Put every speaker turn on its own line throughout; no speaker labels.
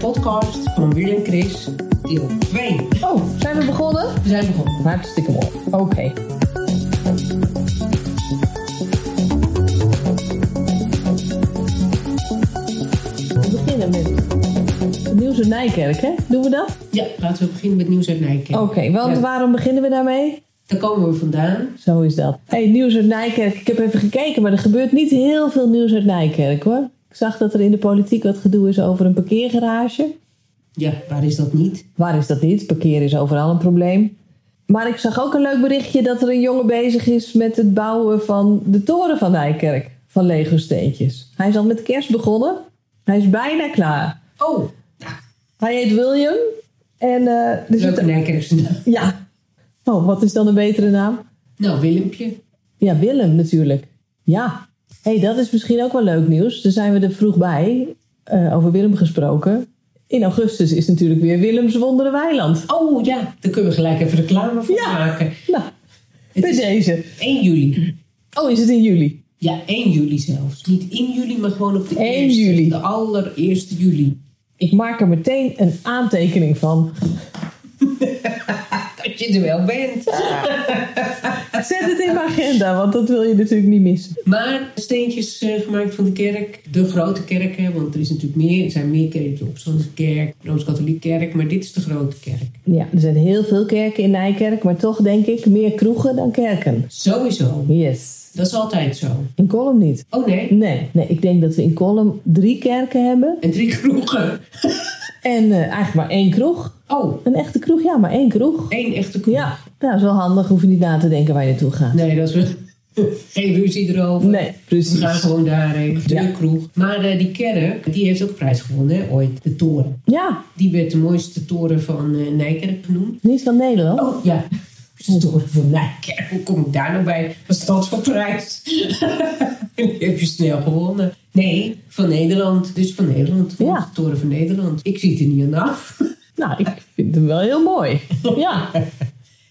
podcast van William Chris, deel 2.
Oh, zijn we begonnen?
We zijn begonnen.
Hartstikke mooi. Oké. We beginnen met nieuws uit Nijkerk, hè? Doen we dat?
Ja, laten we beginnen met nieuws uit Nijkerk.
Oké, want
Ja.
waarom beginnen we daarmee?
Daar komen we vandaan.
Zo is dat. hey, nieuws uit Nijkerk. Ik heb even gekeken, maar er gebeurt niet heel veel nieuws uit Nijkerk, hoor. Ik zag dat er in de politiek wat gedoe is over een parkeergarage.
Ja, waar is dat niet?
Waar is dat niet? Parkeer is overal een probleem. Maar ik zag ook een leuk berichtje dat er een jongen bezig is met het bouwen van de toren van Nijkerk. Van Lego steentjes. Hij is al met kerst begonnen. Hij is bijna klaar.
Oh,
Hij heet William. En eh er zit
leuke
een-
Nijkerkse naam.
Ja. Oh, wat is dan een betere naam?
Nou, Willempje.
Ja, Willem natuurlijk. Ja. hey, dat is misschien ook wel leuk nieuws. Daar zijn we er vroeg bij. eh, over Willem gesproken. In augustus is natuurlijk weer Willems Wonderen Weiland.
Oh ja, daar kunnen we gelijk even reclame voor
Ja.
maken.
Nou,
Het
bij
is
deze.
1 juli.
Oh, is het in juli?
Ja, 1 juli zelfs. Niet in juli, maar gewoon op de
1
eerste,
juli.
De allereerste juli.
Ik maak er meteen een aantekening van.
Dat je er wel bent.
Zet het in mijn agenda, want dat wil je natuurlijk niet missen.
Maar steentjes eh, gemaakt van de kerk, de grote kerken, want er is natuurlijk meer, er zijn meer kerken op zo'n kerk, Rooms-Katholieke kerk, maar dit is de grote kerk.
Ja, er zijn heel veel kerken in Nijkerk, maar toch denk ik meer kroegen dan kerken.
Sowieso.
Yes.
Dat is altijd zo.
In Kolm niet.
Oh nee.
Nee, nee, ik denk dat we in Kolm drie kerken hebben.
En drie kroegen.
En eh, eigenlijk maar één kroeg.
Oh,
Een echte kroeg, ja, maar één kroeg.
één echte kroeg.
Ja, nou, is wel handig. Hoef je niet na te denken waar je naartoe gaat.
Nee, dat is wel... Geen ruzie erover.
Nee,
We gaan
precies.
gewoon daarheen. De
Ja.
kroeg. Maar eh, die kerk, die heeft ook prijs gewonnen, hè, ooit. De toren.
Ja,
Die werd de mooiste toren van eh, Nijkerk genoemd.
niet van Nederland.
Oh ja, storen van Nijkerk. Hoe kom ik daar nou bij? Wat is dat voor prijs? Die heb je snel gewonnen. Nee, van Nederland. Dus van Nederland.
Ja.
De toren van Nederland. Ik zie het er niet aan af.
Nou, ik vind hem wel heel mooi. Ja.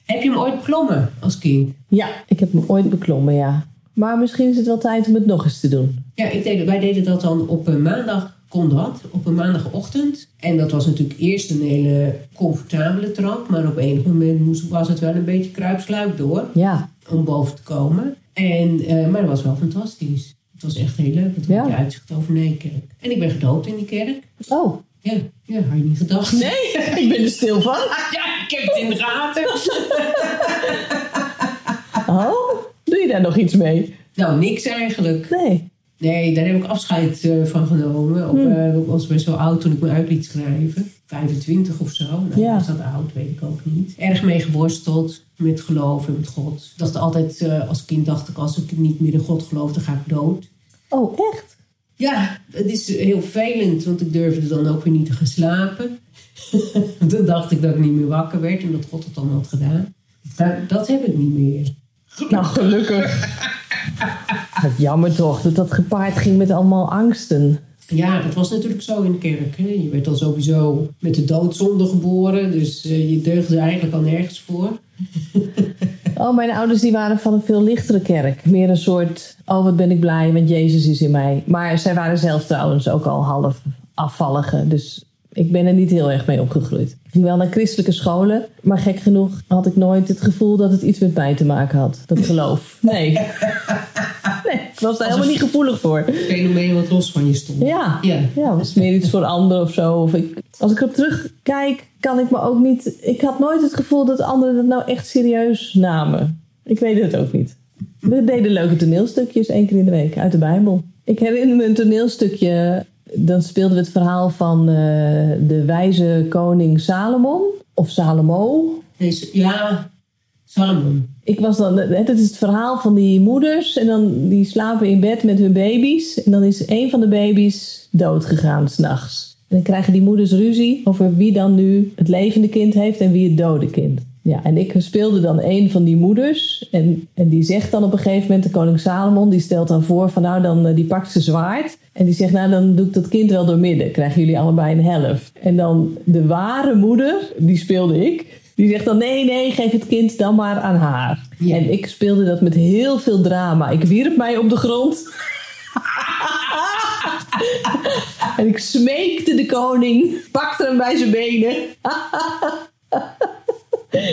heb je hem ooit beklommen als kind?
Ja, ik heb hem ooit beklommen, ja. Maar misschien is het wel tijd om het nog eens te doen.
Ja, ik deed, wij deden dat dan op een maandag. Kon dat, op een maandagochtend. En dat was natuurlijk eerst een hele comfortabele trap. Maar op enig moment moest, was het wel een beetje kruipsluip door.
Ja,
om boven te komen. En, eh, maar dat was wel fantastisch. Het was echt heel leuk. Het had
Ja.
je uitzicht over Nijkerk. En ik ben gedoopt in die kerk.
oh.
Ja, ja had je niet gedacht.
Nee, ik ben er stil van.
Ja, ik heb het in de gaten.
Oh, doe je daar nog iets mee?
nou, niks eigenlijk.
Nee.
Nee, daar heb ik afscheid eh, van genomen. Op,
Hmm.
eh, ik was best wel oud toen ik me uit liet schrijven. 25 of zo. Nou,
Ja.
was dat oud? Weet ik ook niet. Erg mee geworsteld met geloof en met God. Ik dacht altijd, eh, als kind dacht ik, als ik niet meer in God geloof, dan ga ik dood.
Oh, echt?
Ja, het is heel vervelend, want ik durfde dan ook weer niet te gaan slapen. dan dacht ik dat ik niet meer wakker werd en dat God het dan had gedaan. Maar dat heb ik niet meer.
Nou, gelukkig. Wat jammer toch, dat dat gepaard ging met allemaal angsten.
Ja, dat was natuurlijk zo in de kerk. Hè? Je werd dan sowieso met de doodzonde geboren, dus eh, je deugde eigenlijk al nergens voor.
Oh, mijn ouders die waren van een veel lichtere kerk. Meer een soort, oh wat ben ik blij, want Jezus is in mij. Maar zij waren zelf trouwens ook al half afvallige. Dus ik ben er niet heel erg mee opgegroeid. Ik ging wel naar christelijke scholen. Maar gek genoeg had ik nooit het gevoel dat het iets met mij te maken had. Dat geloof. Nee. Nee, ik was daar helemaal niet gevoelig voor.
Het fenomeen wat los van je stond.
Ja.
Ja.
Ja, was meer iets voor anderen of zo. Of ik, als ik erop terugkijk, kan ik me ook niet. Ik had nooit het gevoel dat anderen dat nou echt serieus namen. Ik weet het ook niet. We deden leuke toneelstukjes één keer in de week uit de Bijbel. Ik herinner me een toneelstukje. Dan speelden we het verhaal van eh, de wijze koning Salomon. Of Salomo.
Dus, ja, Salomon.
Ik was dan, hè, dat is het verhaal van die moeders. En dan die slapen in bed met hun baby's. En dan is een van de baby's doodgegaan s'nachts. En dan krijgen die moeders ruzie over wie dan nu het levende kind heeft en wie het dode kind. Ja, en ik speelde dan een van die moeders. En, en die zegt dan op een gegeven moment, de koning Salomon, die stelt dan voor van nou, dan eh, die pakt ze zwaard. En die zegt, nou dan doe ik dat kind wel doormidden. Krijgen jullie allebei een helft. En dan de ware moeder, die speelde ik. Die zegt dan: nee, nee, geef het kind dan maar aan haar.
Ja.
En ik speelde dat met heel veel drama. Ik wierp mij op de grond. En ik smeekte de koning, pakte hem bij zijn benen.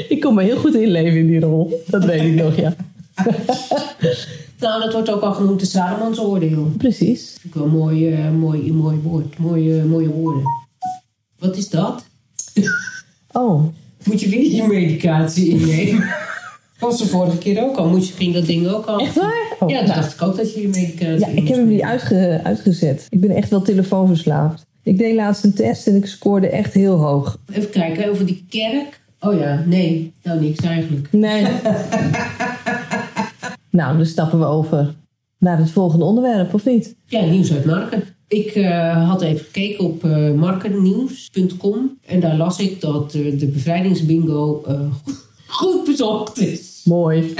ik kon me heel goed inleven in die rol. Dat weet ik nog, ja.
Nou, dat wordt ook al genoemd de Salomons oordeel.
Precies.
Vind ik wel een mooi, eh, mooi, mooi woord. Mooie, mooie woorden. Wat is dat?
Oh,
Moet je weer je medicatie innemen? Was de vorige keer ook al. Moet je ging dat ding ook al?
echt waar? Oh,
ja,
nou.
toen dacht ik ook dat je je medicatie
Ja,
in
ik heb
moest
hem niet
nemen.
uitge- uitgezet. Ik ben echt wel telefoonverslaafd. Ik deed laatst een test en ik scoorde echt heel hoog.
Even kijken, over die kerk. Oh ja, nee. Nou, niks eigenlijk.
Nee. nou, dan stappen we over naar het volgende onderwerp, of niet?
Ja, nieuws uit Marken. Ik eh, had even gekeken op eh, markennieuws.com. En daar las ik dat eh, de bevrijdingsbingo eh, goed bezocht is.
Mooi.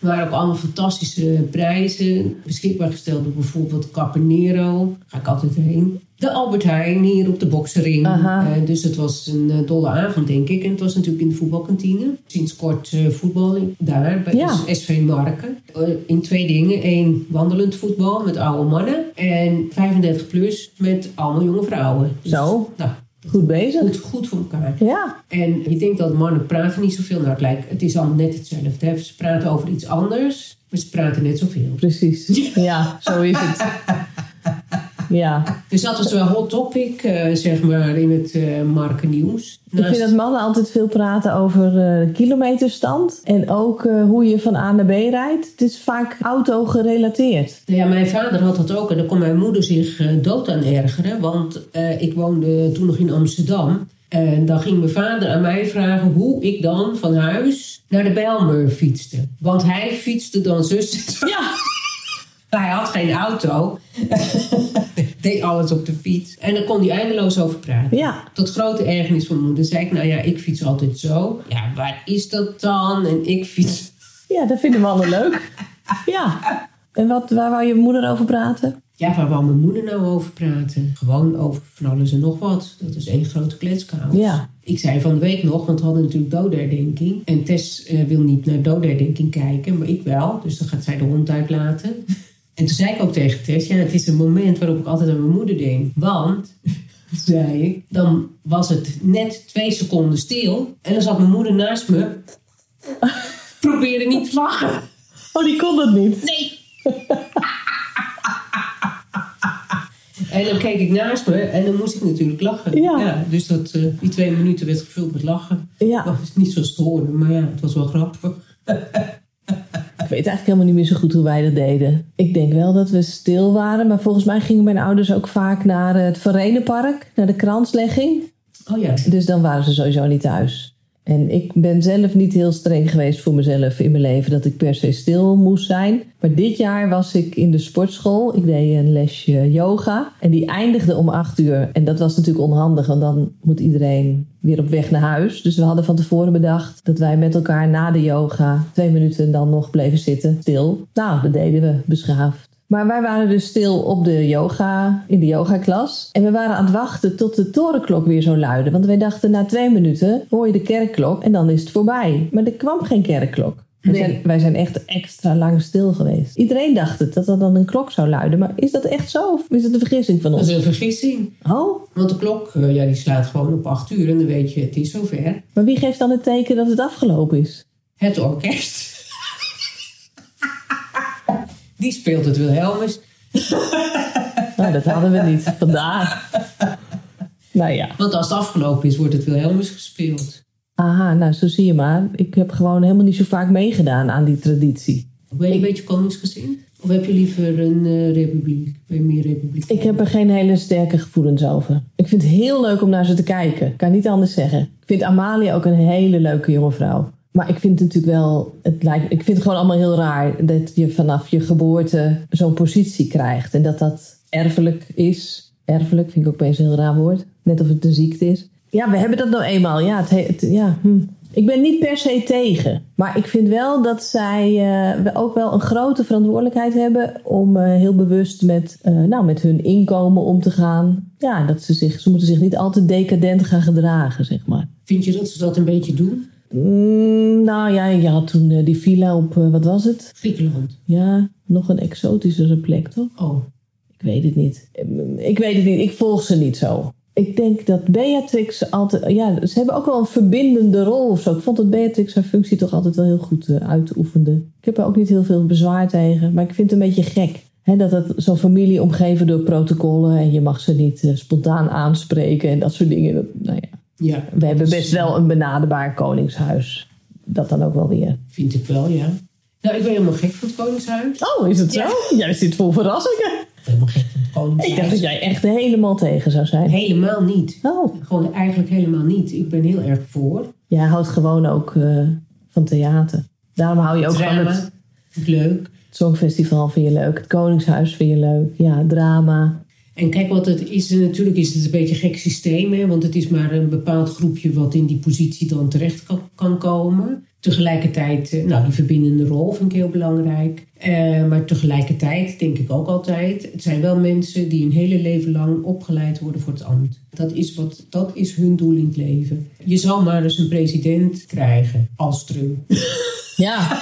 Er waren ook allemaal fantastische prijzen beschikbaar gesteld. door Bijvoorbeeld Capanero, ga ik altijd heen. De Albert Heijn hier op de Boksering.
Aha.
Eh, dus het was een eh, dolle avond, denk ik. En het was natuurlijk in de voetbalkantine. Sinds kort eh, voetbal in- daar bij
Ja.
SV Marken. Eh, in twee dingen. Eén, wandelend voetbal met oude mannen. En 35 plus met allemaal jonge vrouwen. Dus,
Zo.
Nou,
Goed bezig.
goed, goed voor elkaar.
Ja.
En je denkt dat mannen praten niet zoveel. Nou, het, lijkt, het is allemaal net hetzelfde. Hè? Ze praten over iets anders, maar ze praten net zoveel.
Precies. Ja, zo is het. Ja.
Dus dat was wel een hot topic, eh, zeg maar, in het eh markennieuws.
Ik vind
Naast-
dat mannen altijd veel praten over eh, kilometerstand. En ook eh, hoe je van A naar B rijdt. Het is vaak auto gerelateerd.
Nou ja, mijn vader had dat ook en daar kon mijn moeder zich eh, dood aan ergeren. Want eh, ik woonde toen nog in Amsterdam. En dan ging mijn vader aan mij vragen hoe ik dan van huis naar de Bijlmer fietste. Want hij fietste dan zus.
Ja.
Hij had geen auto. Deed alles op de fiets. En daar kon hij eindeloos over praten.
Ja.
Tot grote ergernis van mijn moeder zei ik, nou ja, ik fiets altijd zo. Ja, waar is dat dan? En ik fiets...
Ja, dat vinden we allemaal leuk. Ja. En wat, waar wou je moeder over praten?
Ja, waar wou mijn moeder nou over praten? Gewoon over van alles en nog wat. Dat is één grote kletskamer.
Ja.
Ik zei van de week nog, want we hadden natuurlijk doodherdenking. En Tess eh, wil niet naar doodherdenking kijken, maar ik wel. Dus dan gaat zij de hond uitlaten. En toen zei ik ook tegen Tess, ja, het is een moment waarop ik altijd aan mijn moeder denk. Want, zei ik, dan was het net twee seconden stil. En dan zat mijn moeder naast me. Probeerde niet te lachen.
Oh, die kon dat niet.
Nee. En dan keek ik naast me en dan moest ik natuurlijk lachen.
Ja.
dus dat, eh, die twee minuten werd gevuld met lachen.
Ja.
Dat is niet zo storend, maar ja, het was wel grappig.
Ik weet eigenlijk helemaal niet meer zo goed hoe wij dat deden. Ik denk wel dat we stil waren, maar volgens mij gingen mijn ouders ook vaak naar eh, het Verenenpark, naar de kranslegging.
Oh ja.
Dus dan waren ze sowieso niet thuis. En ik ben zelf niet heel streng geweest voor mezelf in mijn leven dat ik per se stil moest zijn. Maar dit jaar was ik in de sportschool. Ik deed een lesje yoga. En die eindigde om acht uur. En dat was natuurlijk onhandig, want dan moet iedereen weer op weg naar huis. Dus we hadden van tevoren bedacht dat wij met elkaar na de yoga twee minuten dan nog bleven zitten stil. Nou, dat deden we beschaafd. Maar wij waren dus stil op de yoga, in de yogaklas. En we waren aan het wachten tot de torenklok weer zou luiden. Want wij dachten, na twee minuten hoor je de kerkklok en dan is het voorbij. Maar er kwam geen kerkklok. Wij,
Nee.
zijn, wij zijn echt extra lang stil geweest. Iedereen dacht het, dat er dan een klok zou luiden. Maar is dat echt zo of is dat een vergissing van
Dat
ons?
is een vergissing.
Oh,
Want de klok, eh, ja, die slaat gewoon op acht uur en dan weet je, het is zover.
maar wie geeft dan het teken dat het afgelopen is?
Het orkest. Die speelt het Wilhelmus.
Nou, dat hadden we niet vandaag. Nou ja.
Want als het afgelopen is, wordt het Wilhelmus gespeeld.
Aha, nou zo zie je maar. Ik heb gewoon helemaal niet zo vaak meegedaan aan die traditie.
Ben je een beetje koningsgezind? Of heb je liever een eh, republiek? Ben je meer republiek?
Ik heb er geen hele sterke gevoelens over. Ik vind het heel leuk om naar ze te kijken. Ik kan niet anders zeggen. Ik vind Amalia ook een hele leuke jonge vrouw. Maar ik vind het natuurlijk wel, het lijkt, ik vind het gewoon allemaal heel raar dat je vanaf je geboorte zo'n positie krijgt. En dat dat erfelijk is. Erfelijk vind ik ook opeens een heel raar woord. Net of het een ziekte is. Ja, we hebben dat nou eenmaal. Ja, het, he- het- ja hm. Ik ben niet per se tegen. Maar ik vind wel dat zij eh, we- ook wel een grote verantwoordelijkheid hebben om eh, heel bewust met, eh, nou, met hun inkomen om te gaan. Ja, dat ze zich, ze moeten zich niet altijd decadent gaan gedragen, zeg maar.
Vind je dat ze dat een beetje doen?
Mm, nou ja, je had toen eh, die villa op, eh, wat was het?
Griekenland.
Ja, nog een exotischere plek, toch?
Oh,
Ik weet het niet. Mm, Ik weet het niet. Ik volg ze niet zo. Ik denk dat Beatrix altijd... Ja, ze hebben ook wel een verbindende rol of zo. Ik vond dat Beatrix haar functie toch altijd wel heel goed eh, uitoefende. Ik heb er ook niet heel veel bezwaar tegen. Maar ik vind het een beetje gek. Hè, dat het zo'n familie omgeven door protocollen... en je mag ze niet eh, spontaan aanspreken en dat soort dingen. Dat, nou ja.
ja.
We hebben best wel een benaderbaar koningshuis. Dat dan ook wel weer.
Vind ik wel, ja. Nou, ik ben helemaal gek van het Koningshuis.
Oh, is het zo? Jij zit vol verrassingen.
Helemaal gek van het
Ik dacht dat
Koningshuis.
jij echt helemaal tegen zou zijn.
Helemaal niet.
Oh,
Gewoon eigenlijk helemaal niet. Ik ben heel erg voor.
jij houdt gewoon ook eh, van theater. Daarom hou je ook van
Drama.
het
Vind ik leuk.
Songfestival vind je leuk. Het Koningshuis vind je leuk. Ja, drama.
En kijk wat het is. Natuurlijk is het een beetje een gek systeem. Hè? Want het is maar een bepaald groepje wat in die positie dan terecht kan, kan komen. Tegelijkertijd, eh, nou die verbindende rol vind ik heel belangrijk. Eh, maar tegelijkertijd denk ik ook altijd. Het zijn wel mensen die een hele leven lang opgeleid worden voor het ambt. Dat is, wat, dat is hun doel in het leven. Je zou maar eens een president krijgen als Trump.
Ja.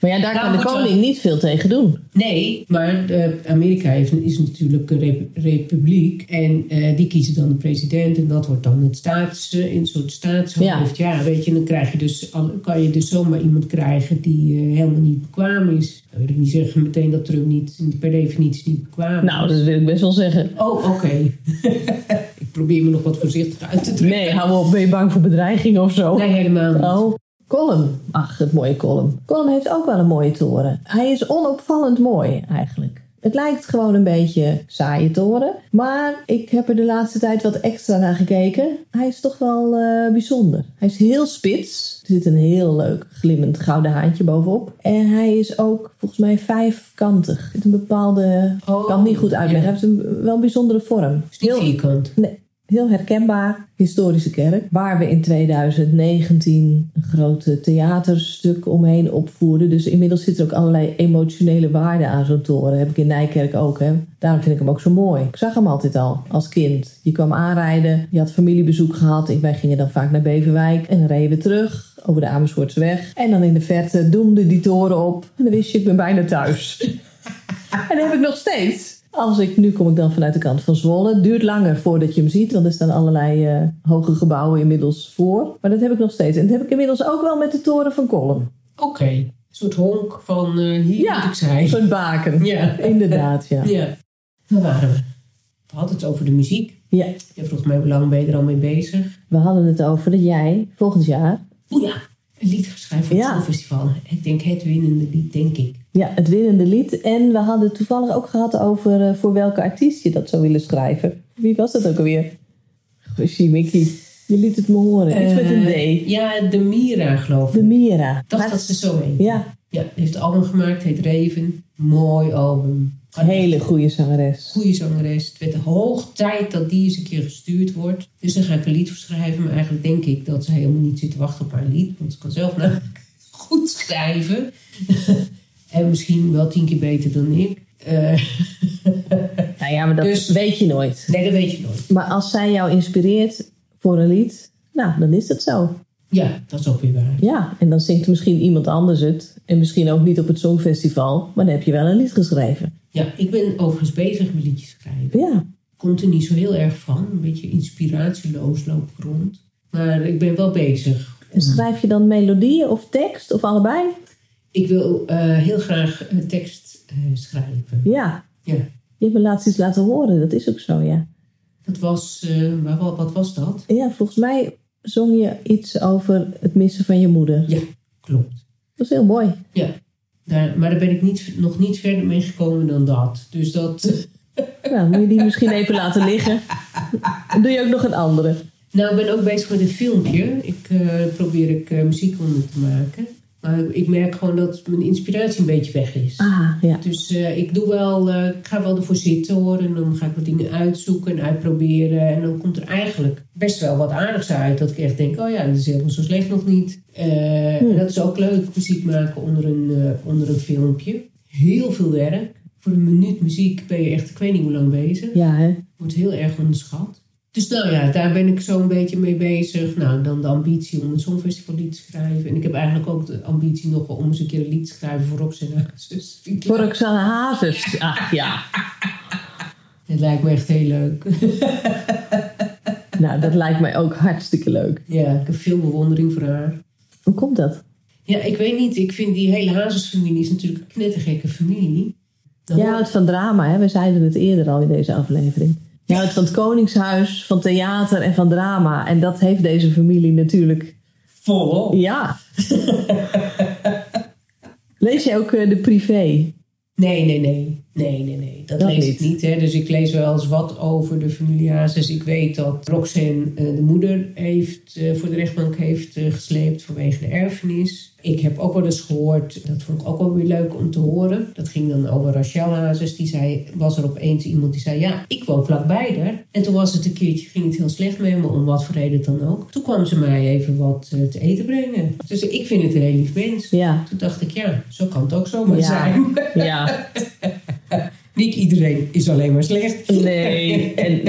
Maar ja, daar
Nou,
kan de
moet je-
koning niet veel tegen doen.
Nee, maar eh, Amerika heeft, is natuurlijk een rep- republiek. En eh, die kiezen dan de president. En dat wordt dan het staats, eh, een soort staatshoofd. Ja. weet je, dan krijg je dus, al- kan je dus zomaar iemand krijgen die eh, helemaal niet bekwaam is. Dan wil ik niet zeggen meteen dat Trump niet, per definitie niet bekwaam
Nou, dat wil ik best wel zeggen.
is. Oh, oké. ik probeer me nog wat voorzichtig uit te drukken.
Nee, hou op. Ben je bang voor bedreigingen of zo?
Nee, helemaal niet.
Oh, Colum. Ach, het mooie Colum. Colum heeft ook wel een mooie toren. Hij is onopvallend mooi eigenlijk. Het lijkt gewoon een beetje saaie toren. Maar ik heb er de laatste tijd wat extra naar gekeken. Hij is toch wel eh, bijzonder. Hij is heel spits. Er zit een heel leuk glimmend gouden haantje bovenop. En hij is ook volgens mij vijfkantig. Er zit een bepaalde... Ik
Oh,
kan het niet goed uitleggen.
ja.
Hij heeft een, wel een bijzondere vorm.
Is niet
Heel-
vierkant.
Nee, heel herkenbaar. Historische kerk. Waar we in 2019 een groot theaterstuk omheen opvoerden. Dus inmiddels zit er ook allerlei emotionele waarde aan zo'n toren. Heb ik in Nijkerk ook. Hè? Daarom vind ik hem ook zo mooi. Ik zag hem altijd al als kind. Je kwam aanrijden. Je had familiebezoek gehad. Ik- Wij gingen dan vaak naar Beverwijk. En dan reden we terug over de Amersfoortsweg. En dan in de verte doemde die toren op. En dan wist je, ik ben bijna thuis. En dat heb ik nog steeds. Als ik, nu kom ik dan vanuit de kant van Zwolle. Het duurt langer voordat je hem ziet, want er staan allerlei eh, hoge gebouwen inmiddels voor. Maar dat heb ik nog steeds. En dat heb ik inmiddels ook wel met de toren van Kolm.
Oké. Een soort honk van eh, hier
Ja.
moet ik zijn.
Een soort baken.
Ja.
Inderdaad, ja.
Ja. Waar waren we? We hadden het over de muziek.
ja.
Je vroeg mij hoe lang ben je er al mee bezig?
We hadden het over dat jij volgend jaar
O ja, een lied geschreven voor het
Ja.
Songfestival. Ik denk het winnende lied, denk ik.
ja, het winnende lied. En we hadden het toevallig ook gehad over eh, voor welke artiest je dat zou willen schrijven. Wie was dat ook alweer? Goshie, Mickey. Je liet het me horen. Iets met een
Eh,
D.
Ja, de Mira geloof ik.
De Mira.
Ik dacht
Maar-
dat dus- ze zo heet. Ja.
Ja,
die heeft een album gemaakt, heet Raven. Mooi album.
hele goede zangeres.
Goede zangeres. Het werd hoog tijd dat die eens een keer gestuurd wordt. Dus daar ga ik een lied voor schrijven. Maar eigenlijk denk ik dat ze helemaal niet zit te wachten op haar lied. Want ze kan zelf namelijk goed schrijven. en misschien wel tien keer beter dan ik. Eh,
Nou ja, maar dat
Dus-
weet je nooit.
nee, dat weet je nooit.
Maar als zij jou inspireert voor een lied, nou, dan is het zo.
Ja, dat is ook weer waar.
Ja, en dan zingt misschien iemand anders het. En misschien ook niet op het Songfestival, maar dan heb je wel een lied geschreven.
Ja, ik ben overigens bezig met liedjes schrijven.
Ja,
Komt er niet zo heel erg van. Een beetje inspiratieloos loop ik rond. Maar ik ben wel bezig.
en schrijf je dan melodieën of tekst of allebei?
Ik wil eh, heel graag eh, tekst eh, schrijven.
Ja,
Ja,
je hebt me laatst iets laten horen, dat is ook zo, ja.
dat was... eh, waar- wat, wat was dat?
Ja, volgens mij zong je iets over het missen van je moeder.
Ja, klopt.
Dat is heel mooi.
Ja, daar, maar daar ben ik niet, nog niet verder mee gekomen dan dat. Dus dat...
Nou, moet je die misschien even laten liggen. Dan doe je ook nog een andere.
Nou, ik ben ook bezig met een filmpje. Ik eh, probeer ik eh, muziek onder te maken. Maar ik merk gewoon dat mijn inspiratie een beetje weg is.
Ah, ja.
Dus eh, ik, doe wel, eh, ik ga wel ervoor zitten hoor. En dan ga ik wat dingen uitzoeken en uitproberen. En dan komt er eigenlijk best wel wat aardigs uit. Dat ik echt denk, oh ja, dat is helemaal zo slecht nog niet. Eh, En dat is ook leuk, muziek maken onder een, eh, onder een filmpje. Heel veel werk. Voor een minuut muziek ben je echt, ik weet niet hoe lang bezig.
Ja, hè?
Wordt heel erg onderschat. Dus nou ja, daar ben ik zo een beetje mee bezig. Nou, dan de ambitie om een songfestival lied te schrijven. En ik heb eigenlijk ook de ambitie nog wel om eens een keer een lied te schrijven voor Roxanne Hazes. Vind ik
Voor
leuk.
Roxanne Hazes. Ach ja.
Het lijkt me echt heel leuk.
Nou, dat lijkt mij ook hartstikke leuk.
ja, ik heb veel bewondering voor haar.
Hoe komt dat?
Ja, ik weet niet. Ik vind die hele Hazes-familie is natuurlijk een knettergekke familie. Dan
Jij houdt van drama, hè? We zeiden het eerder al in deze aflevering. Je houdt van het Koningshuis, van theater en van drama. En dat heeft deze familie natuurlijk.
volop.
Ja. Lees jij ook eh, de privé?
Nee, nee, nee. Nee, nee, nee. Dat,
Dat
lees ik
niet.
niet. Hè. Dus ik lees wel eens wat over de familie Hazes. Ik weet dat Roxanne eh, de moeder heeft, eh, voor de rechtbank heeft eh, gesleept vanwege de erfenis. Ik heb ook wel eens gehoord, dat vond ik ook wel weer leuk om te horen. Dat ging dan over Rachel Hazes. Die zei, was er opeens iemand die zei, ja, ik woon vlakbij daar. En toen was het een keertje, ging het heel slecht met me, om wat voor reden dan ook. Toen kwam ze mij even wat eh, te eten brengen. Dus ik vind het een heel lief mens.
Ja.
Toen dacht ik, ja, zo kan het ook zomaar
Ja.
zijn.
Ja.
Niet iedereen is alleen maar slecht.
Nee. En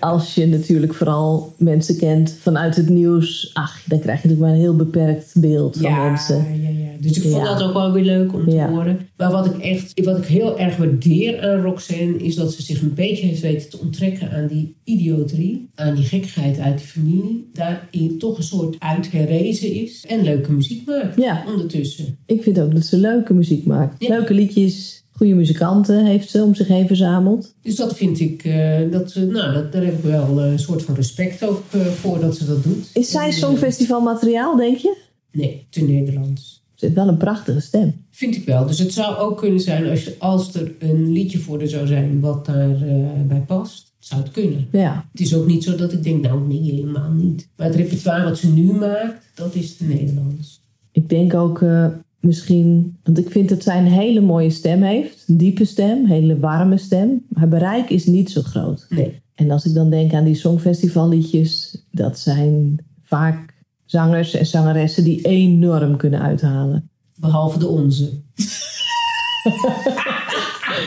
als je natuurlijk vooral mensen kent vanuit het nieuws, ach, dan krijg je natuurlijk maar een heel beperkt beeld van
Ja,
mensen.
ja, ja. Dus ik vond
Ja.
dat ook wel weer leuk om te
Ja.
horen. Maar wat ik echt, wat ik heel erg waardeer aan Roxanne, is dat ze zich een beetje heeft weten te onttrekken aan die idioterie, aan die gekkigheid uit de familie. Daarin toch een soort uit herrezen is en leuke muziek maakt
Ja.
ondertussen.
Ik vind ook dat ze leuke muziek maakt.
Ja.
Leuke liedjes, goede muzikanten heeft ze om zich heen verzameld.
Dus dat vind ik, eh, dat, ze- nou, dat, daar heb ik wel eh, een soort van respect ook eh, voor dat ze dat doet.
Is zij
En, eh,
songfestival materiaal, denk je?
Nee, te Nederlands.
Ze heeft wel een prachtige stem.
Vind ik wel. Dus het zou ook kunnen zijn als, je- als er een liedje voor er zou zijn wat daarbij bij past. Zou het kunnen.
Ja,
Het is ook niet zo dat ik denk, nou nee, helemaal niet. Maar het repertoire wat ze nu maakt, dat is het Nederlands.
ik denk ook eh, misschien... Want ik vind dat zij een hele mooie stem heeft. Een diepe stem, een hele warme stem. Haar bereik is niet zo groot.
Nee.
En als ik dan denk aan die songfestivalliedjes... dat zijn vaak zangers en zangeressen die enorm kunnen uithalen.
Behalve de onze.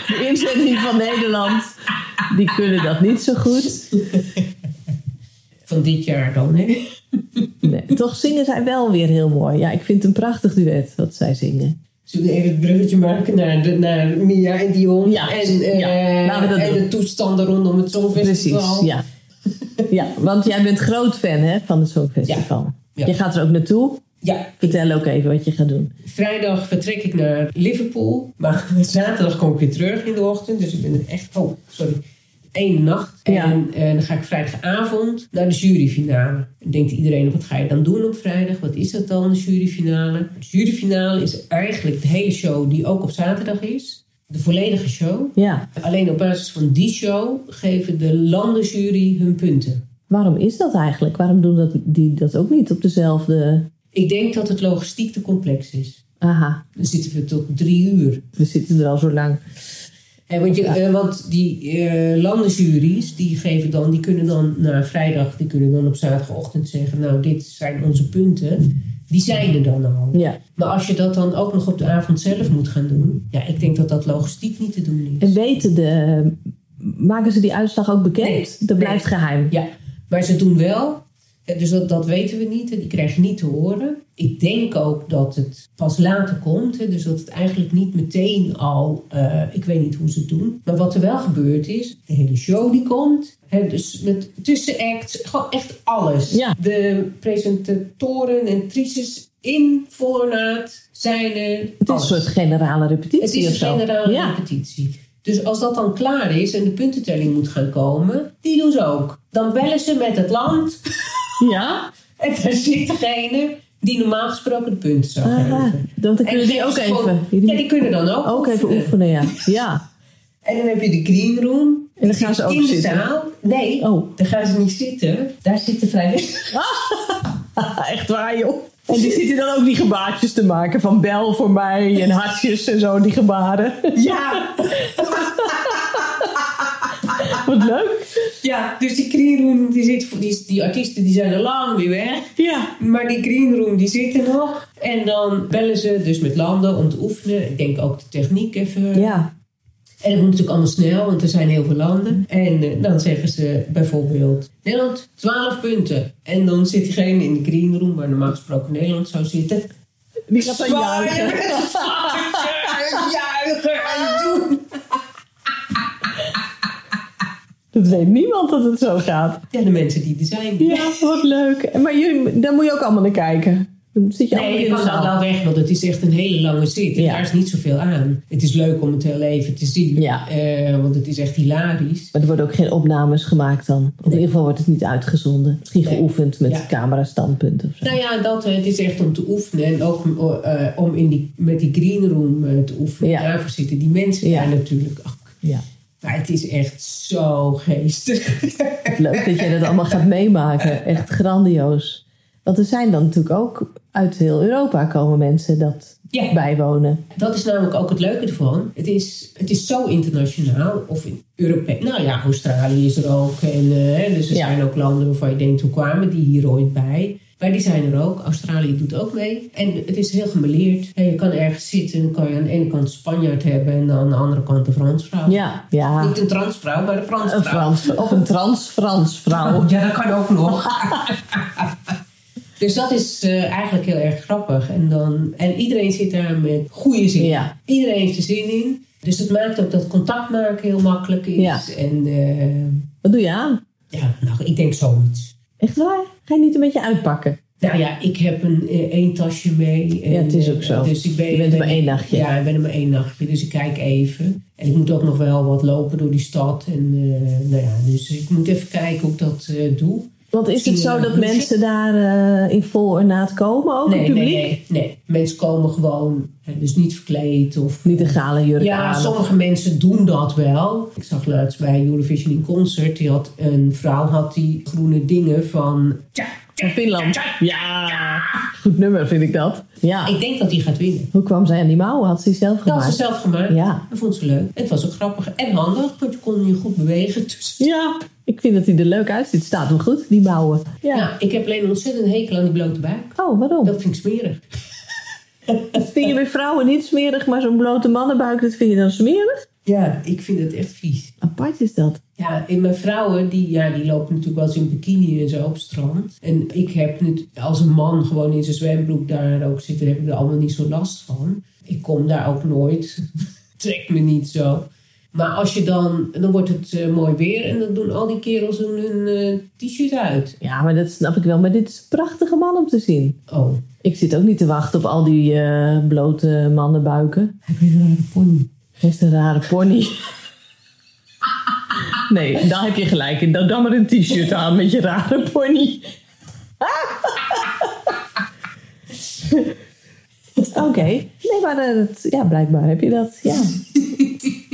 De inzending van Nederland, die kunnen dat niet zo goed.
Van dit jaar dan, hè?
Nee, toch zingen zij wel weer heel mooi. Ja, ik vind het een prachtig duet wat zij zingen.
Zullen we even het bruggetje maken naar, de, naar Mia en Dion?
Ja,
en, eh,
ja. Laten we dat
en
doen.
de toestanden rondom het Songfestival.
Precies, ja. ja. Want jij bent groot fan hè, van het Songfestival.
Ja.
Je gaat er ook naartoe.
ja,
Vertel ook even wat je gaat doen.
Vrijdag vertrek ik naar Liverpool. Maar zaterdag kom ik weer terug in de ochtend. Dus ik ben er echt... Oh, sorry. Eén nacht. En,
Ja.
eh, dan ga ik vrijdagavond naar de juryfinale. Dan denkt iedereen, wat ga je dan doen op vrijdag? Wat is dat dan, de juryfinale? De juryfinale is eigenlijk de hele show die ook op zaterdag is. De volledige show.
Ja,
Alleen op basis van die show geven de landenjury hun punten.
waarom is dat eigenlijk? Waarom doen dat, die dat ook niet op dezelfde...
Ik denk dat het logistiek te complex is.
Aha,
Dan zitten we tot drie uur.
we zitten er al zo lang.
Hè, want, je, eh, want die eh landenjuries, die, geven dan, die kunnen dan na vrijdag, die kunnen dan op zaterdagochtend zeggen, nou dit zijn onze punten. Die zijn er dan al.
Ja.
Maar als je dat dan ook nog op de avond zelf moet gaan doen, ja, ik denk dat dat logistiek niet te doen is.
En weten de... Maken ze die uitslag ook bekend?
Nee, nee.
dat blijft geheim.
Ja, maar ze doen wel. hè, Dus dat, dat weten we niet. hè, Die krijg je niet te horen. Ik denk ook dat het pas later komt. hè, Dus dat het eigenlijk niet meteen al... eh, ik weet niet hoe ze het doen. Maar wat er wel gebeurd is... De hele show die komt. hè, Dus met tussenacts. Gewoon echt alles.
Ja.
De presentatoren en trices in voorraad zijn er.
Het is eh,
Alles.
een soort generale repetitie
Het is een
of zo.
generale
ja.
repetitie. Dus als dat dan klaar is en de puntentelling moet gaan komen, die doen ze ook. Dan bellen ze met het land
ja?
en daar zit degene die normaal gesproken de punten zou
Aha.
geven.
Ah, Dan
En
kunnen die ook
geven ze
even...
gewoon- Ja, die kunnen dan ook.
Ook even
oefenen.
oefenen, ja. Ja,
En dan heb je de green room.
En dan
Die
gaan ze
zit
ook
in de
zitten.
zaal. Nee,
Oh.
daar gaan ze niet zitten. Daar zitten vrijwilligers.
echt waar joh. En die zitten dan ook die gebaartjes te maken van bel voor mij en hartjes en zo, die gebaren.
Ja.
Wat leuk.
ja, dus die green room, die, zit, voor- die, die artiesten die zijn al lang weer weg.
Ja.
Maar die green room die zit er nog. En dan bellen ze dus met landen om te oefenen. Ik denk ook de techniek even.
Ja,
En het moet natuurlijk allemaal snel, want er zijn heel veel landen. En eh, dan zeggen ze bijvoorbeeld Nederland 12 punten. En dan zit diegene in de green room, waar normaal gesproken Nederland zou zitten.
Die gaat dan
Zwaaien
juichen.
met het vlaggetje en juichen en doen.
Dat weet niemand dat het zo gaat.
Ja, de mensen die er zijn.
Ja, wat leuk. Maar jullie, daar moet je ook allemaal naar kijken. Dan zit je allemaal
Nee, ik
in de
kan dan
zaal.
wel weg, want het is echt een hele lange zit. En
Ja.
daar is niet zoveel aan. Het is leuk om het heel even te zien.
Ja.
eh, want het is echt hilarisch.
Maar er worden ook geen opnames gemaakt dan. Of In ieder geval wordt het niet uitgezonden. Misschien
Nee.
geoefend met
Ja.
camerastandpunt of zo.
Nou ja, dat, eh, het is echt om te oefenen. En ook eh, om in die, met die green room eh, te oefenen.
Ja.
Daarvoor zitten die mensen
Ja.
daar natuurlijk ook.
Ja.
Maar het is echt zo geestig.
Leuk dat jij dat allemaal gaat meemaken. Echt grandioos. Want er zijn dan natuurlijk ook uit heel Europa komen mensen dat
Ja.
bijwonen.
Dat is namelijk ook het leuke ervan. Het is, het is zo internationaal. Of in Europees. Nou ja, Australië is er ook. En, eh, dus er
Ja.
zijn ook landen waarvan je denkt, hoe kwamen die hier ooit bij? Maar die zijn er ook. Australië doet ook mee. En het is heel gemeleerd. En je kan ergens zitten en dan kan je aan de ene kant Spanjaard hebben en aan de andere kant een Fransvrouw.
Ja, ja.
Niet een transvrouw, maar een
Ah. Een
Fransvrouw.
Frans, of een trans-Frans vrouw.
Ja, dat kan ook nog. dus dat is eh, eigenlijk heel erg grappig. En, dan, en iedereen zit daar met goede zin.
Ja.
Iedereen heeft er zin in. Dus dat maakt ook dat contact maken heel makkelijk is.
Ja.
En eh,
Wat doe je aan?
ja, nou, ik denk zoiets.
Echt waar? Ga je niet een beetje uitpakken?
Nou ja, ik heb een, eh, één tasje mee. En,
Ja, het is ook zo.
eh, Dus ik ben,
Je bent er maar
ben-
één nachtje.
Ja, ik ben er maar één nachtje. Dus ik kijk even. En ik moet ook nog wel wat lopen door die stad. En eh, nou ja, dus ik moet even kijken hoe ik dat eh, doe.
Want is het zo dat mensen daar eh, in vol ornaat komen, ook het
Nee, nee,
publiek?
nee, nee. Mensen komen gewoon, hè, dus niet verkleed of...
Niet een gale jurk
Ja,
aan.
sommige mensen doen dat wel. Ik zag laatst bij Eurovision in Concert, die had een vrouw had die groene dingen van... Tja,
Van Finland. Ja, goed nummer vind ik dat. Ja.
ik denk dat die gaat winnen.
Hoe kwam zij aan die mouwen? Had ze die zelf
Dat had ze
gemaakt?
zelf gemaakt.
Ja.
Dat vond ze leuk. Het was ook grappig en handig, want je kon je goed bewegen. Dus,
Ja, ik vind dat hij er leuk uitziet. Staat hem goed, die mouwen. Ja.
ja, ik heb alleen een ontzettend hekel aan die blote buik.
Oh, waarom?
Dat vind ik smerig.
Dat vind je bij vrouwen niet smerig, maar zo'n blote mannenbuik, dat vind je dan smerig?
Ja, ik vind het echt vies.
Apart is dat.
Ja, en mijn vrouwen, die, ja, die lopen natuurlijk wel eens in bikini en zo op het strand. En ik heb nu als een man gewoon in zijn zwembroek daar ook zitten, heb ik er allemaal niet zo last van. Ik kom daar ook nooit. Trek me niet zo. Maar als je dan, dan wordt het eh, mooi weer en dan doen al die kerels hun, hun, eh, t-shirt uit.
Ja, maar dat snap ik wel. Maar dit is een prachtige man om te zien.
Oh,
Ik zit ook niet te wachten op al die eh, blote mannenbuiken.
heb je een rare pony?
Hij is een rare pony. Nee, daar heb je gelijk in. Dan, dan maar een t-shirt aan met je rare pony. Oké. Nee, maar eh, dat, ja, blijkbaar heb je dat. Ja.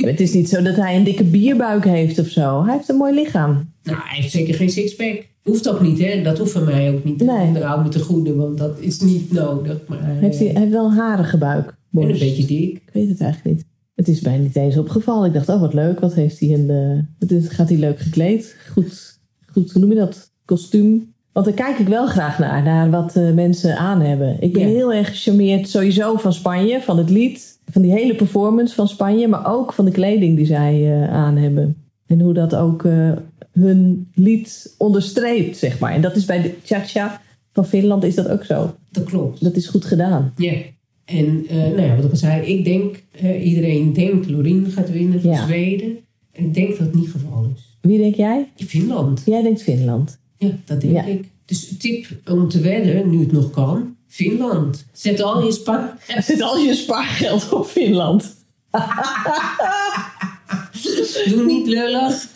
Het is niet zo dat hij een dikke bierbuik heeft of zo. Hij heeft een mooi lichaam.
Nou, hij heeft zeker geen sixpack. Hoeft ook niet, hè? Dat hoeft van mij ook niet.
Nee.
Nou, met de goede, want dat is niet nodig. Maar,
Heeft hij,
eh,
hij heeft wel een harige buik.
en een
borst.
beetje dik.
Ik weet het eigenlijk niet. Het is mij niet eens opgevallen. Ik dacht, oh wat leuk, wat heeft hij een. eh, wat is- gaat hij leuk gekleed? Goed, goed, hoe noem je dat? Kostuum. Want daar kijk ik wel graag naar, naar wat eh, mensen aan hebben. Ik ben
Ja.
heel erg gecharmeerd sowieso van Spanje, van het lied, van die hele performance van Spanje, maar ook van de kleding die zij eh, aan hebben. En hoe dat ook eh, hun lied onderstreept, zeg maar. En dat is bij de cha-cha van Finland is dat ook zo.
Dat klopt.
Dat is goed gedaan.
Ja. En eh, nou ja, wat ik al zei, ik denk, eh, iedereen denkt Lorien gaat winnen van
Ja.
Zweden. En ik denk dat het niet het geval is.
Wie denk jij?
Finland.
Jij denkt Finland.
Ja, dat denk
Ja.
ik. Dus tip om te wedden, nu het nog kan. Finland. Zet al je spa.
Er zit al je spaargeld op Finland.
Doe niet lullig.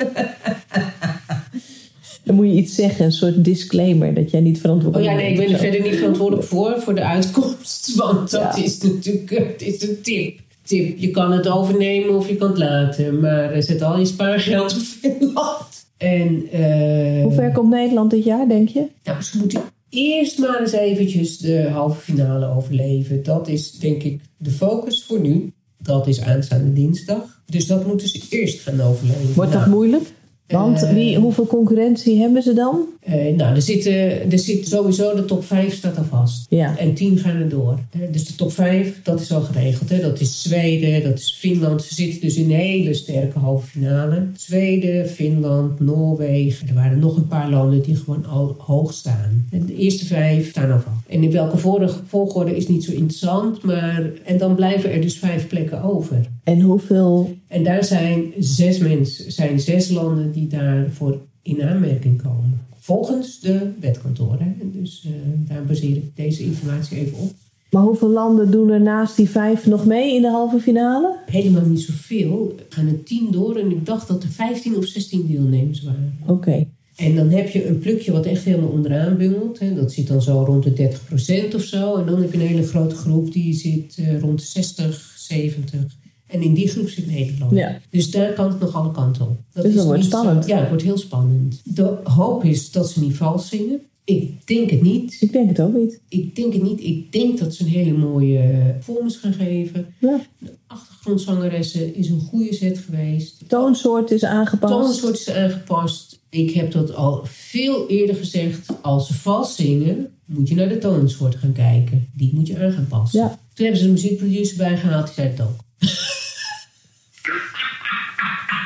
Dan moet je iets zeggen, een soort disclaimer, dat jij niet
Oh
verantwoordelijk
ja,
bent.
nee, ik ben
of
er
zo.
verder niet verantwoordelijk voor, voor de uitkomst. Want dat
Ja.
is natuurlijk eh, het is een tip. tip. Je kan het overnemen of je kan het laten. Maar eh, zet al je spaargeld op Finland. En, eh,
Hoe ver komt Nederland dit jaar, denk je?
Nou, ze moeten eerst maar eens eventjes de halve finale overleven. Dat is denk ik de focus voor nu. Dat is aanstaande dinsdag. Dus dat moeten ze eerst gaan overleven.
Wordt dat
Nou,
moeilijk? Want
Eh,
wie, hoeveel concurrentie hebben ze dan?
eh, nou, er, zitten, er zit sowieso de top 5 staat al vast.
Ja.
En 10 gaan er door. Eh, Dus de top 5, dat is al geregeld. Hè? Dat is Zweden, dat is Finland. Ze zitten dus in een hele sterke halve finale. Zweden, Finland, Noorwegen. Er waren nog een paar landen die gewoon al hoog staan. En de eerste vijf staan al vast. En in welke vorige- volgorde is niet zo interessant. Maar... En dan blijven er dus vijf plekken over.
En hoeveel?
En daar zijn zes mensen, zijn zes landen die daarvoor in aanmerking komen. Volgens de wetkantoren. hè. Dus eh, daar baseer ik deze informatie even op.
Maar hoeveel landen doen er naast die vijf nog mee in de halve finale?
Helemaal niet zoveel. Er gaan er tien door en ik dacht dat er 15 of 16 deelnemers waren.
Oké.
En dan heb je een plukje wat echt helemaal onderaan bungelt. Hè. Dat zit dan zo rond de 30% of zo. En dan heb je een hele grote groep die zit eh, rond de 60, 70. En in die groep zit Nederland.
Ja.
Dus daar kan het nog alle kanten op. Dat
Dus dat wordt
niet zo-
spannend.
ja, het wordt heel spannend. De hoop is dat ze niet vals zingen. Ik denk het niet.
Dus Ik denk het ook niet.
Ik denk het niet. Ik denk dat ze een hele mooie eh, performance gaan geven.
Ja.
De achtergrondzangeressen is een goede set geweest.
Toonsoort is aangepast.
Toonsoort is aangepast. eh, Ik heb dat al veel eerder gezegd. Als ze vals zingen, moet je naar de toonsoort gaan kijken. Die moet je aan gaan passen.
Ja.
Toen hebben ze een muziekproducer bijgehaald. Die zei het ook.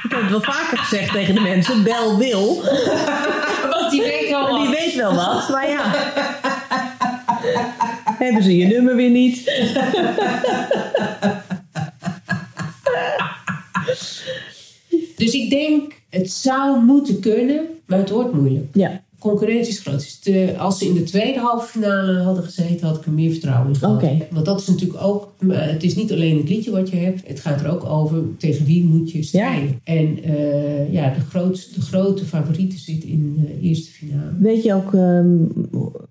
Ik heb het wel vaker gezegd tegen de mensen. Bel wil.
Want die weet wel
Die weet wel wat, maar ja. Hebben ze je nummer weer niet?
Dus ik denk, het zou moeten kunnen, maar het wordt moeilijk.
Ja,
Concurrentie is groot. Dus de- als ze in de tweede halve finale hadden gezeten, had ik er meer vertrouwen in gehad.
Oké.
Want dat is natuurlijk ook, maar het is niet alleen het liedje wat je hebt, het gaat er ook over tegen wie moet je strijden. En eh, ja, de, grootste, de grote favoriete zit in de eerste finale.
weet je ook ehm,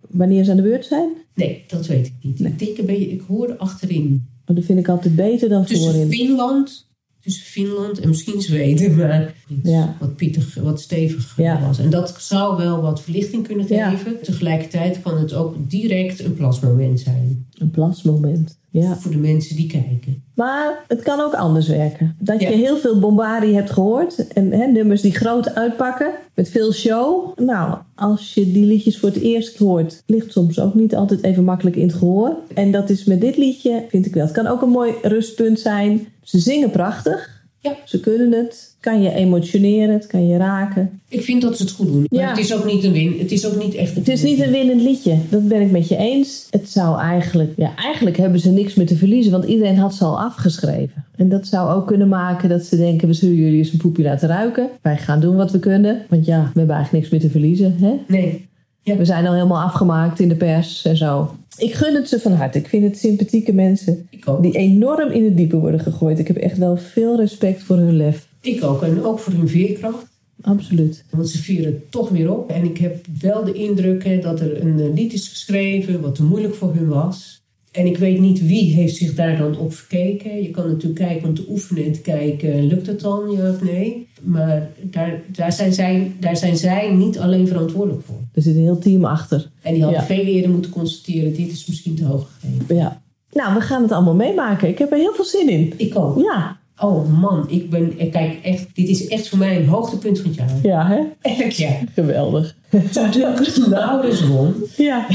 wanneer ze aan de beurt zijn?
Nee, dat weet ik niet. Ik denk een beetje, ik hoor achterin.
Want dat vind ik altijd beter dan
Tussen
voorin.
Finland, tussen Finland en misschien Zweden, maar iets
Ja.
wat pittig, wat stevig
Ja.
was. En dat zou wel wat verlichting kunnen
Ja.
geven. Tegelijkertijd kan het ook direct een plasmoment zijn
Een plasmoment. Ja.
voor de mensen die kijken.
Maar het kan ook anders werken. Dat
Ja.
je heel veel bombardie hebt gehoord. En hè, nummers die groot uitpakken. Met veel show. Nou, als je die liedjes voor het eerst hoort. Ligt soms ook niet altijd even makkelijk in het gehoor. En dat is met dit liedje, vind ik wel. Het kan ook een mooi rustpunt zijn. Ze zingen prachtig.
Ja.
Ze kunnen het. Kan je emotioneren. Het kan je raken.
Ik vind dat ze het goed doen. Maar
Ja.
het is ook niet een win. Het is ook niet echt een
Het is niet een winnend liedje. Dat ben ik met je eens. Het zou eigenlijk... Ja, eigenlijk hebben ze niks meer te verliezen. Want iedereen had ze al afgeschreven. En dat zou ook kunnen maken dat ze denken... we zullen jullie eens een poepje laten ruiken. Wij gaan doen wat we kunnen. Want ja, we hebben eigenlijk niks meer te verliezen. Hè?
Nee.
We zijn al helemaal afgemaakt in de pers en zo. Ik gun het ze van harte. Ik vind het sympathieke mensen...
Ik ook.
die enorm in het diepe worden gegooid. Ik heb echt wel veel respect voor hun lef.
Ik ook. En ook voor hun veerkracht.
Absoluut.
Want ze vieren het toch weer op. En ik heb wel de indruk hè, dat er een eh, lied is geschreven wat te moeilijk voor hun was. En ik weet niet wie heeft zich daar dan op verkeken. Je kan natuurlijk kijken om te oefenen en te kijken, eh, lukt het dan, ja of nee? Maar daar, daar, zijn zij, daar zijn zij niet alleen verantwoordelijk voor.
Er zit een heel team achter.
En die hadden
Ja.
veel eerder moeten constateren, dit is misschien te hoog gegeven.
Ja. Nou, we gaan het allemaal meemaken. Ik heb er heel veel zin in.
Ik ook.
Ja.
Oh man, ik ben, eh, kijk, echt, dit is echt voor mij een hoogtepunt van het jaar.
Ja, hè?
Echt ja.
Geweldig.
Toen de Laurens won,
Ja.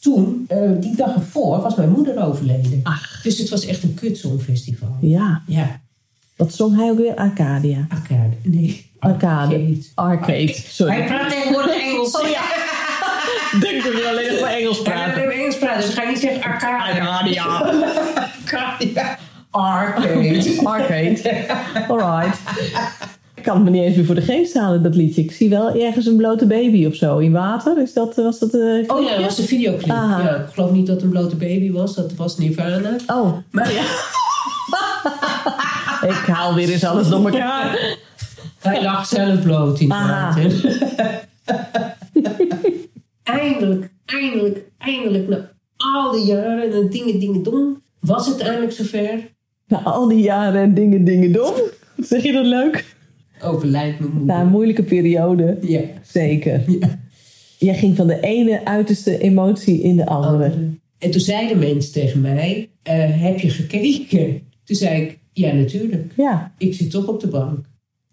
toen, eh, die dag ervoor, was mijn moeder overleden.
Ach.
Dus het was echt een kutsongfestival.
Ah. Ja.
Ja,
Wat zong hij ook weer? Arcadia.
arcade. Nee,
Arcade. Arcade. Sorry.
praat tegenwoordig Engels.
Oh ja. Denk dat we alleen nog maar Engels
Hij wil alleen Engels praten, dus ga ik niet zeggen arcade.
Arcadia.
Arcade. Arcade.
Arcade. Alright. Ik kan het me niet eens meer voor de geest halen, dat liedje. Ik zie wel ergens een blote baby of zo in water. Is dat, was dat... eh,
Oh ja, dat was de videoclip.
Aha.
Ja, ik geloof niet dat het een blote baby was, dat was Nirvana.
Oh,
Maar ja,
ik haal weer eens alles door elkaar.
hij lag zelf bloot in het
Aha.
water. eindelijk, eindelijk, eindelijk, na al die jaren en dingen, dingen, dong, was het eindelijk zover.
Na al die jaren en dingen, dingen, dom. Zeg je dat leuk?
Overlijdt mijn moeder.
Na een moeilijke periode.
ja.
Zeker.
Ja.
Jij ging van de ene uiterste emotie in de
Oh.
andere.
En toen zei de mens tegen mij, eh, heb je gekeken? Toen zei ik, ja natuurlijk,
Ja,
ik zit toch op de bank.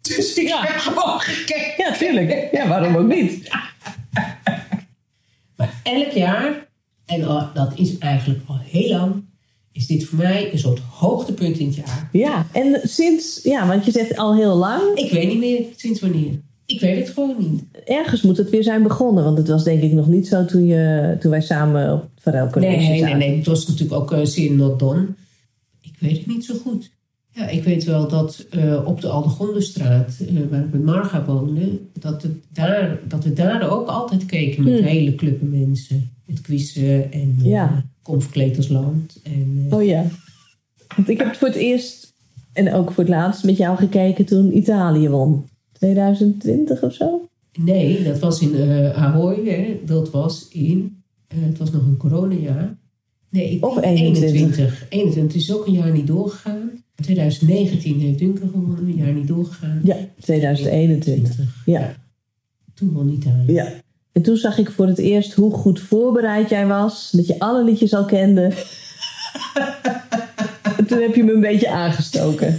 Dus ik
Ja.
heb gewoon gekeken.
Ja, tuurlijk. Ja, waarom ook niet?
Maar elk jaar, en al- dat is eigenlijk al heel lang, is dit voor mij een soort hoogtepunt in het jaar.
Ja, en sinds, ja, want je zegt al heel lang,
Ik weet niet meer sinds wanneer. Ik weet het gewoon niet.
ergens moet het weer zijn begonnen. Want het was denk ik nog niet zo toen, je, toen wij samen op Varel
Nee,
College
nee, nee,
zaten.
nee. Het was natuurlijk ook eh zeer not done. Ik weet het niet zo goed. Ja, ik weet wel dat eh, op de Aldegondenstraat, eh, waar ik met Marga woonde, dat, het daar, dat we daar ook altijd keken met
Hmm.
hele clubben mensen. Met quizzen en eh,
Ja.
kom verkleed als land. En, eh,
Oh ja. Want ik heb het voor het eerst en ook voor het laatst met jou gekeken toen Italië won. 2020 of zo?
Nee, dat was in eh Ahoy. Hè. Dat was in, eh, het was nog een coronajaar. Nee, ik
Of
denk
21.
21. 21 is ook een jaar niet doorgegaan. 2019 heeft Duncan gewonnen, een jaar niet doorgegaan.
Ja, 2021.
20.
Ja.
Toen won Italië.
ja. En toen zag ik voor het eerst hoe goed voorbereid jij was. Dat je alle liedjes al kende. En toen heb je me een beetje aangestoken.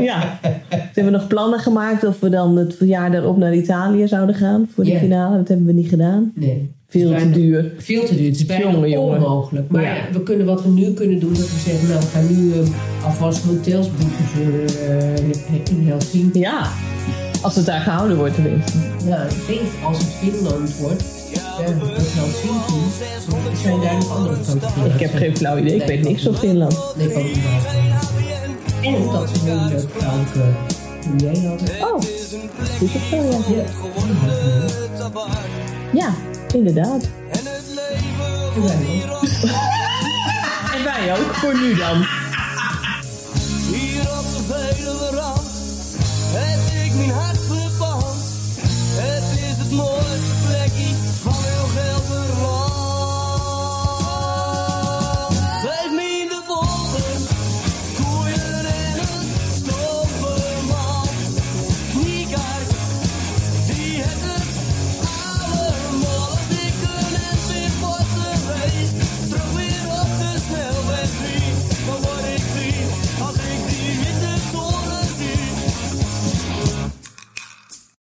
Ja. Toen hebben we nog plannen gemaakt of we dan het jaar daarop naar Italië zouden gaan. Voor de
Ja.
finale. Dat hebben we niet gedaan.
Nee.
Veel
Het is
te
bijna-
duur.
Veel te duur. Het is bijna
Jongen, jongen.
onmogelijk. Maar
Ja.
we kunnen wat we nu kunnen doen, dat we zeggen, nou, we gaan nu eh, alvast hotels boeken voor eh, in Helsinki.
Ja, als het daar gehouden wordt tenminste.
Ja, ik denk als het Finland wordt, ja, dat Helsinki, zijn daar nog andere kandidaten.
Ik heb geen flauw idee, ik weet niks van Finland.
Nee, ik ook niet. En dat ze een hele leuke vrouwelijke premier hadden.
Oh, dat is het wel, ja.
Ja, die had ik
Ja, inderdaad.
niet. En wij ook.
En wij ook, voor nu dan.